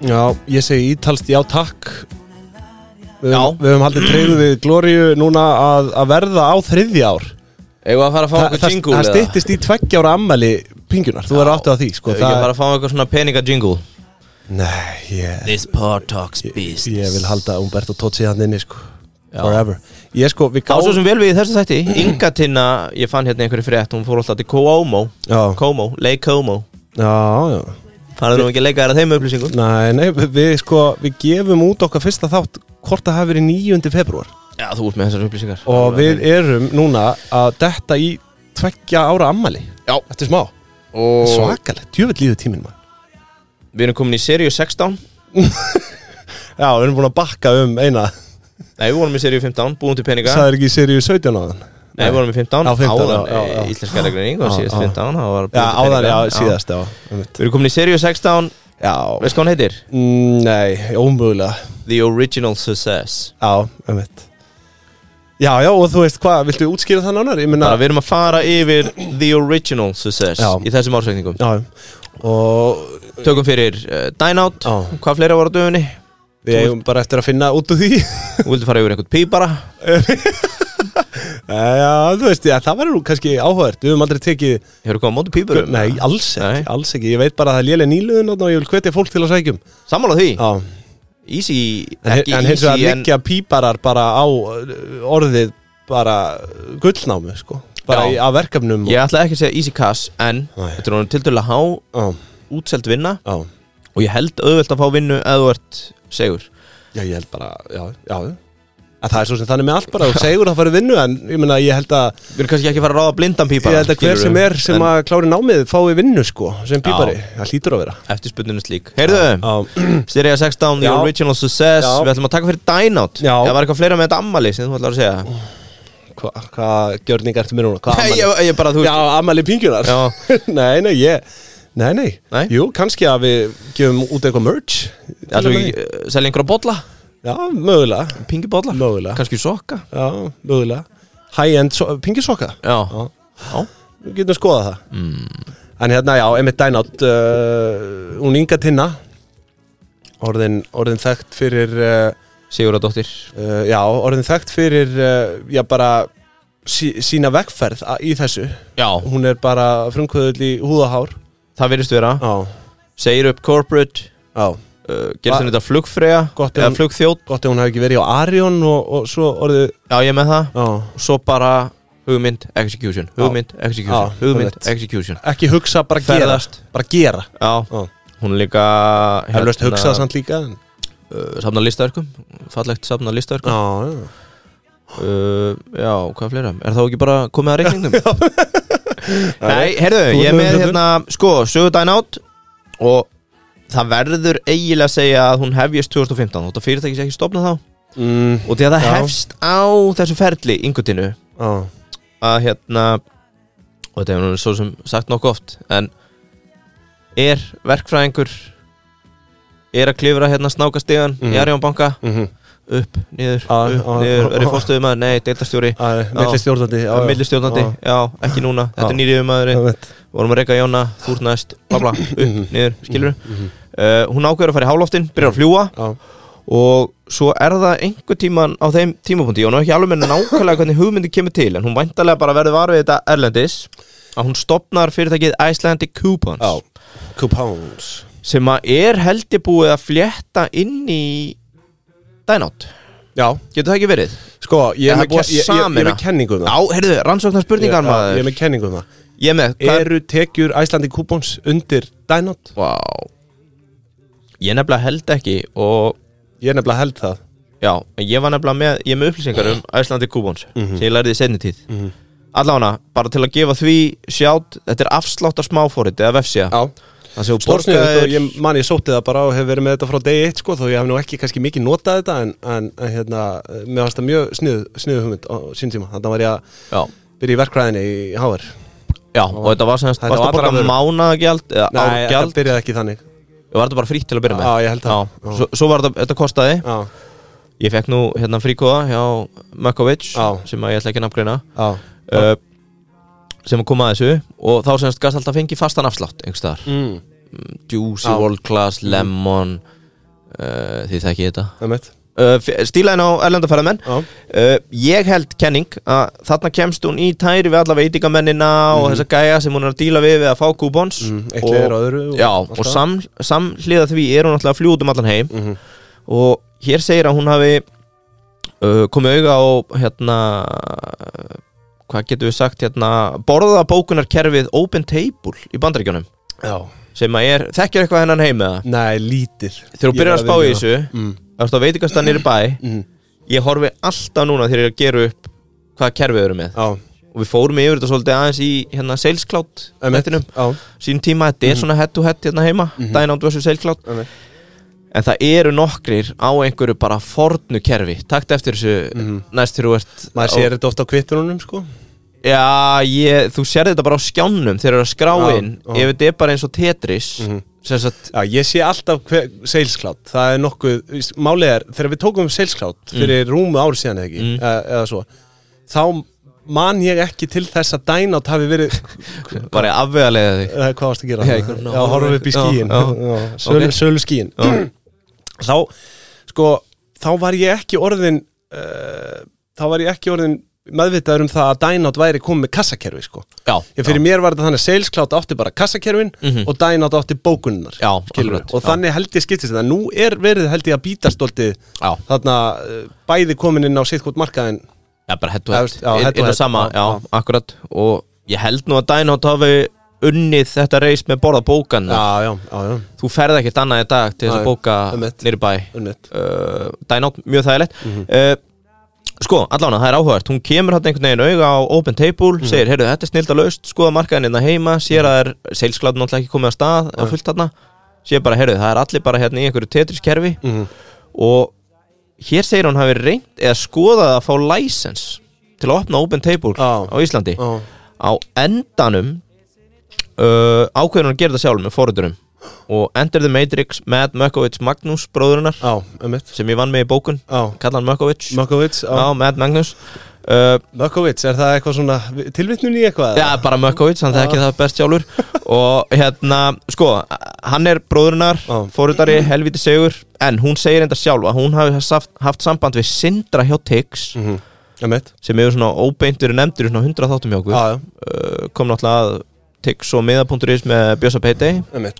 Já, ég segi ítalst já takk Við, Já. við höfum haldið treyðu við Glóriu núna að, að verða á þriðja ár Eða að fara að fá Þa- okkur Það jingle það eða? styttist í tveggjára ammæli pingunar, þú verður Já. áttu að því sko, Ef það- Ekki bara að fá okkur svona peninga jingle Nei, ég, This part talks business ég vil halda Umberto Tocci hann inni sko, forever Ég sko, við Á svo gáðum sem vel við í þessu þætti Inga Tinna, ég fann hérna einhverju frétt Hún fór alltaf til Komo Já. Komo, Lake Komo Já, já Farðu nú ekki að leika þær að þeim upplýsingum Nei, nei, við, við sko, við gefum út okkar fyrsta þátt hvort það hafi verið 9. februar Já, þú ert með þessar upplýsingar og við erum núna að detta í tveggja ára ammali Já. Eftir smá, og svakalegt, djöfell líður tíminn maður Við erum komin í seríu 16 Já, við erum búin að bakka um eina Nei, við vorum í seríu 15, búin til peninga Það er ekki í seríu 17 áðan Nei, við vorum í 15 Já, 15, áðan, já, já, já. í Íslenska regning og Já, síðast já. 15 það var búin Já, til áðan, peninga. já, síðast, já, einmitt. Við erum komin í seríu 16 já. Veist hvað hún heitir? Mm, Nei, ómögulega The Original Success Já, einmitt Já, já, og þú veist hvað, viltu útskýra það nánar? Ég menna Bara við erum að fara yfir The Original Success Hérna, Já. Í þessum ársækningum Já, og Tökum fyrir uh, Dynout Já. Hvað fleira voru á dögunni? við eigum bara eftir að finna út úr því Þú vildi fara yfir einhvern pípara Eh, Já, þú veist, já, það verður nú kannski áhugavert Við höfum aldrei tekið Hefur komið á móti pípurum? Nei, alls ekki, Nei. alls ekki Ég veit bara að það er lélega nýluðun og ég vil hvetja fólk til að sækjum Sammála því? Já, Easy, en, ekki en hins easy vegar liggja píparar bara á uh, orðið bara uh, gullnámi, sko Bara Já. í, að verkefnum og- Ég ætla ekki að segja easy cash En Nei. þetta er nú tiltölulega há Já, útseld vinna já, og ég held auðvelt að fá vinnu eða þú ert segur já, ég held bara, já, já Að það er svo sem þannig með allt bara, þú segur að fara vinnu en ég meina, ég held að Við erum kannski ekki að fara að ráða blindan pípara Ég held að hver skilurðu, sem er sem en að klári námið fái vinnu sko, sem pípari, það hlýtur að vera Eftir spurninu slík Heyrðu, Já, Styria 16, The Já. Original Success Já. Við ætlum að taka fyrir Dynout Já. Það var eitthvað fleira með þetta ammali sem þú ætlar að segja hvað hva, gjörninga ertu mér núna? Hva, Nei, ég, ég bara, þú Já, amali pingjunar Já. Nei, nei, ég Nei, nei, Nei? jú, kannski að við gefum út eitthvað merch Það er ekki uh, selja einhverja bolla, Já, mögulega pingibolla Mögulega, Kannski sokka já, mögulega High-end so pingjusoka Já, Já. Já. Við getum skoðað það mm. En hérna, já, Emmett Dynátt uh, Hún Inga Tinna Orðin, orðin þekkt fyrir uh, Siguradóttir uh, Já, orðin þekkt fyrir uh, Já, bara sí, sína vegferð a- í þessu Já, Hún er bara frumkvöðull í húðahár það virðist vera Já, Segir upp corporate já uh, Va- Gerst henni þetta flugfreyja Gott Eða en- flugþjótt Gott ef hún hafi ekki verið á Arion og, og svo orðið Já, ég er með það Já og svo bara hugmynd, execution, hugmynd, execution, Já, hugmynd, einmitt. execution Ekki hugsa, bara Ferðast. gera Bara gera Já, Já. hún er líka Heflaust hugsað samt líka en- uh, Safna listaverkum, fallegt safna listaverkum Já, já uh, Já, hvað fleira, er þá ekki bara komið að reikningnum? Nei, heyrðu, Þú ég er ert með með hérna, sko, sögur dæn átt og það verður eiginlega að segja að hún hefjast 2015 og það fyrirtækis ekki stopnað þá mm, og því að það Já. hefst á þessu ferli yngutinu Já, að hérna og þetta hefur nú svo sem sagt nokkuð oft en er verkfræðingur er að klifra hérna snákastegan Mhm. í Arjón banka mhm upp, niður, Já, upp, já, niður já, er í já. fórstöðum maður, nei, deildarstjóri Millir stjórnandi millistjórnandi, já, ekki núna þetta Já. Mhm. er nýriðum maðurinn, vorum að reyka Jóna þú ert næst, bla bla, upp, niður, skilur uh, hún ákveður að fara í háloftin byrjar að fljúa og svo er það einhver tíman á þeim tímapunkti og hún er ekki alveg með nákvæmlega hvernig hugmyndi kemur til en hún væntalega bara verður var við þetta erlendis að hún stopnar fyrirtækið Icelandic Coupons Já, coupons sem að er heldig búið að flétta inn í Dynout Já, getur það ekki verið? sko, ég er Það er með, búið ke að ég, ég, ég er sameina. með kenningu um Já, það heyrðu, rannsóknar Ég- spurningar já, Ég er maður með kenningu um það Ég er með, hvað er Eru tekjur Æslandi coupons undir Dynot? Vá Ég nefnilega held ekki og Ég er nefnilega held það Já, en ég var nefnilega með, ég er með upplýsingar um Icelandic Coupons Mhm. sem ég lærði í senni tíð mm Allána, bara til að gefa því sjátt, þetta er afsláttar smáfórið eða vefsja, Já það sem þú Stórsniðið, borgaðir ég man ég sótti það bara og hef verið með þetta frá degi eitt sko, þó ég hef nú ekki kannski mikið notað þetta en, en, en hérna, mér varst það mjög sniðu, sniðu hugmynd á sín tíma, þannig var ég að Já, byrja í verkfræðinni í HR já, og þetta var sem sagt, Þetta varstu var að borga allra vörum. mánaðagjald eða Nei, árgjald, það byrjaði ekki þannig var þetta bara frítt til að byrja með Já, ég held það. Já. Svo, svo var þetta, þetta kostaði, Já, ég fekk nú hérna fríkóða hjá Makovic Já. sem að ég ætla ekki að nafngreina já uh, sem að koma að þessu og þá semst gast alltaf fengið fastan afslátt einhvers staðar mm. Juicy, Já. World Class, Lemon uh, því það ekki þetta einmitt. uh, stílaðin á erlendaferðamenn Já. uh, ég held kenning að þarna kemst hún í tæri við alla veitingamennina og þessa gæja sem hún er að díla við við að fá kúbons Mhm, eitt leiðir á öðru og já, allt og það. sam, samhliða því er hún alltaf að fljúta um allan heim Mhm. og hér segir að hún hafi uh, komið auga á hérna uh, hvað getum við sagt hérna borðabókunarkerfið Open Table í bandaríkjunum Já. sem að er, þekkir eitthvað hennan heim eða Nei, lítið þegar þú Ég byrjar að verð spá í viðurkenna þessu mm. þá veitingast að nýri bæ Mm. ég horfi alltaf núna þegar ég er að gera upp hvaða kerfið við erum með Já, og við fórum yfir þetta svolítið aðeins í hérna Sales Cloud einmitt þættinum. Já, sínum tíma, þetta er svona head to head hérna heima mm -hmm. Dynout vs Sales Cloud einmitt en það eru nokkrir á einhverju bara fornu kerfi, takt eftir þessu næst þegar þú ert Mhm. Maður sér þetta ofta á kvittunum, sko já, ég, þú sér þetta bara á skjánum þegar þú eru að skrá Já, inn já. Mhm. ef þetta er bara eins og Tetris sem sagt, Já, ég sé alltaf hver, Sales Cloud Það er nokkuð, málið er Þegar við tókum Sales Cloud fyrir rúmu ári síðan eða ekki Mm. eða, eða svo Þá man ég ekki til þess að Dynout hafi verið bara ég afvegalega þig Eh, Hvað varst að gera? Já, ég kom- já horfum upp í Já, skíin já. Sölu, Ok. sölu skíin Þá, sko Þá var ég ekki orðin uh, Þá var ég ekki orðin meðvitaður um það að Dynout væri komið með kassakerfi, sko já, Ég fyrir mér var þetta þannig að Sales Cloud átti bara kassakerfin Mhm. og Dynout átti bókunnar Já, akkurat, og já. þannig held ég skiptist þetta nú er verið held ég að býta stoltið já, þarna eh, bæði komin inn á sittkvot markaðin já, bara head to Já, head veist, já, head to inn og head, já, sama, já, já. akkurat og ég held nú að Dynout hafi unnið þetta reis með borða bókan Já, já, já, já, þú ferð ekkert annað í dag til þess að Nei, bóka einmitt. nýri bæ unnit uh, Dynout, mjög þægilegt uh, Sko, allána, það er áhugavert Hún kemur hann einhvern veginn auga á Open Table Segir, heyrðu, þetta er snilda laust, skoða markaðin innan heima Sér að það er seilsklátt náttúrulega ekki komið að stað Á fullt þarna Sér bara, heyrðu, það er allir bara hérna í einhverju tetriskerfi Og hér segir hún hafi reynt Eða skoðað að fá license Til að opna Open Table Já. á Íslandi Já, á endanum uh, ákveðurinn að gera það sjálf með forriturum og Enter the Matrix, Matt Mökkovits Magnús bróðurinnar já, unnit sem ég vann með í bókun Já, kalla hann Mökkovits Mökkovits Já, Matt Magnús uh, Mökkovits, er það eitthvað svona tilvittnun í eitthvað? Já, bara Mökkovits, hann þekki það best sjálfur og hérna, sko hann er bróðurinnar, Já. forritari helviti segur, en hún segir enda sjálf að hún hafi haft, haft samband við Sindra hjá Tix, Mm. Mhm. Unnit sem hefur svona óbeintur nefndur í svona 100 þáttum hjá okkur Já, já, uh, kom náttúrulega að Tix og miða.is með Bjösa Payday unnit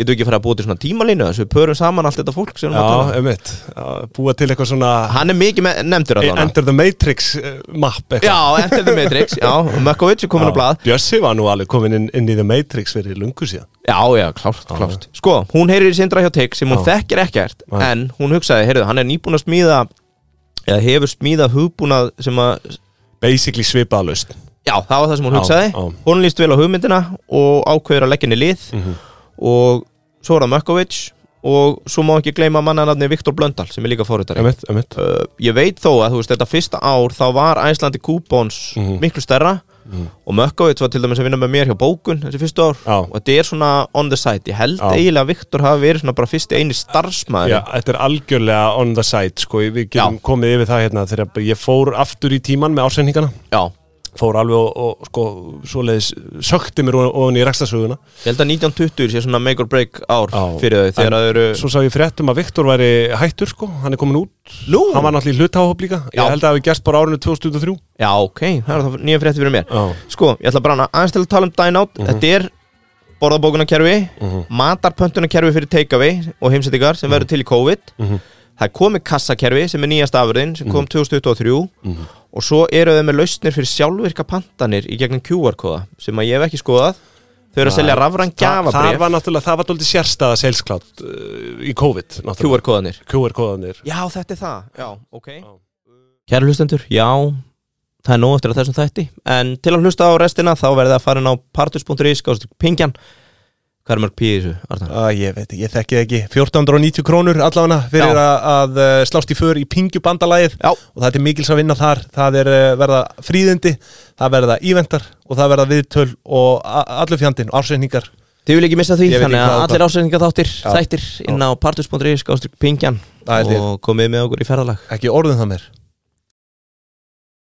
getum við ekki að fara að búa til svona tímalínu þessu við pörum saman allt þetta fólk sem við erum að Já, tala um? unnit Búa til eitthvað svona hann er mikið með, nefndur að þána Enter the Matrix eh, map eitthvað já, Enter the Matrix, já, Mökkovits er komin á blað Bjössi var nú alveg komin inn, inn í the Matrix fyrir lungu síðan já, já, klárt, klárt sko, hún heyrir í sindra hjá Tix sem hún þekkir ekkert Já. en hún hugsaði, heyrðu, hann er nýbúin að smíða eða hefur smíðað hugbúnað sem að, Basically svipaðalust já, það var það sem hún Já, hugsaði já. hún líst vel á hugmyndina og ákveður að leggja henni lið Mhm. og svo er það Mökkovits og svo má ekki gleyma mannanarni Viktor Blöndal sem er líka fórhundari Unnit, unnit uh, ég veit þó að þú veist þetta fyrsta ár þá var Æslandi kúbóns Mhm. miklu stærra og Mökkovits var til dæmis að vinna með mér hjá bókun þessi fyrstu ár Já. og þetta er svona on the side ég held Já. eiginlega að Viktor hafi verið svona bara fyrsti eini starfsmaður Já, þetta er algjörlega on the side sko, við getum Já. komið yfir það hérna þegar ég fór aftur í tíman með ásendingana Já. fór alveg og, og sko, svoleiðis sökti mér o- ofan í rekstasöguna ég held að 1920 sé svona make or break ár Já. fyrir þau En þegar þau eru svo sá ég fréttum að Viktor væri hættur sko, hann er komin út Nú? hann var náttúrulega í hlutáhóp líka, Já. ég held að það hafi gerst bara á árinu 2003 Já, ok, það er það nýja frétti fyrir mér Já. Sko, ég ætla bara hana aðeins til að tala um Dynout Mhm. Þetta er borðabókunarkerfi matarpöntunarkerfi fyrir takeaway og heimsendingar sem Mhm. verður til í COVID Það er komið kassakerfi sem er nýjast afurðin sem Mhm. kom 2023 og svo eru þau með lausnir fyrir sjálfvirka pantanir í gegnum QR-kóða sem að ég hef ekki skoðað Þau eru að selja rafræn það, það gafabrif var náttúrulega, það var dóldi sérstaða selsklátt uh, í COVID náttúrulega. QR-kóðanir QR-kóðanir Já, þetta er það, já, ok Kæra hlustendur, já Það er nóg eftir að þessum þætti En til að hlusta á restina þá verðið að fara inn á partus.is Gáðast pingjan Hvað er mörg píði þessu, Arnar? Ah, ég veit ekki, ég þekki það ekki 1490 krónur allavega fyrir Já. að, að eh, slást í för í pingjubandalagið Já. og það er mikils að vinna þar það er eh, verða fríðindi, það verða íventar og það verða viðtöl og a- allur fjandinn, ársreiningar Þið vil ekki missa því, Ég veit ekki þannig að hvað allir ásendingar þáttir Já. Þættir inn á partus.is Gáðast pingjan Það held ég. Og komið með okkur í ferðalag ekki orðum það mér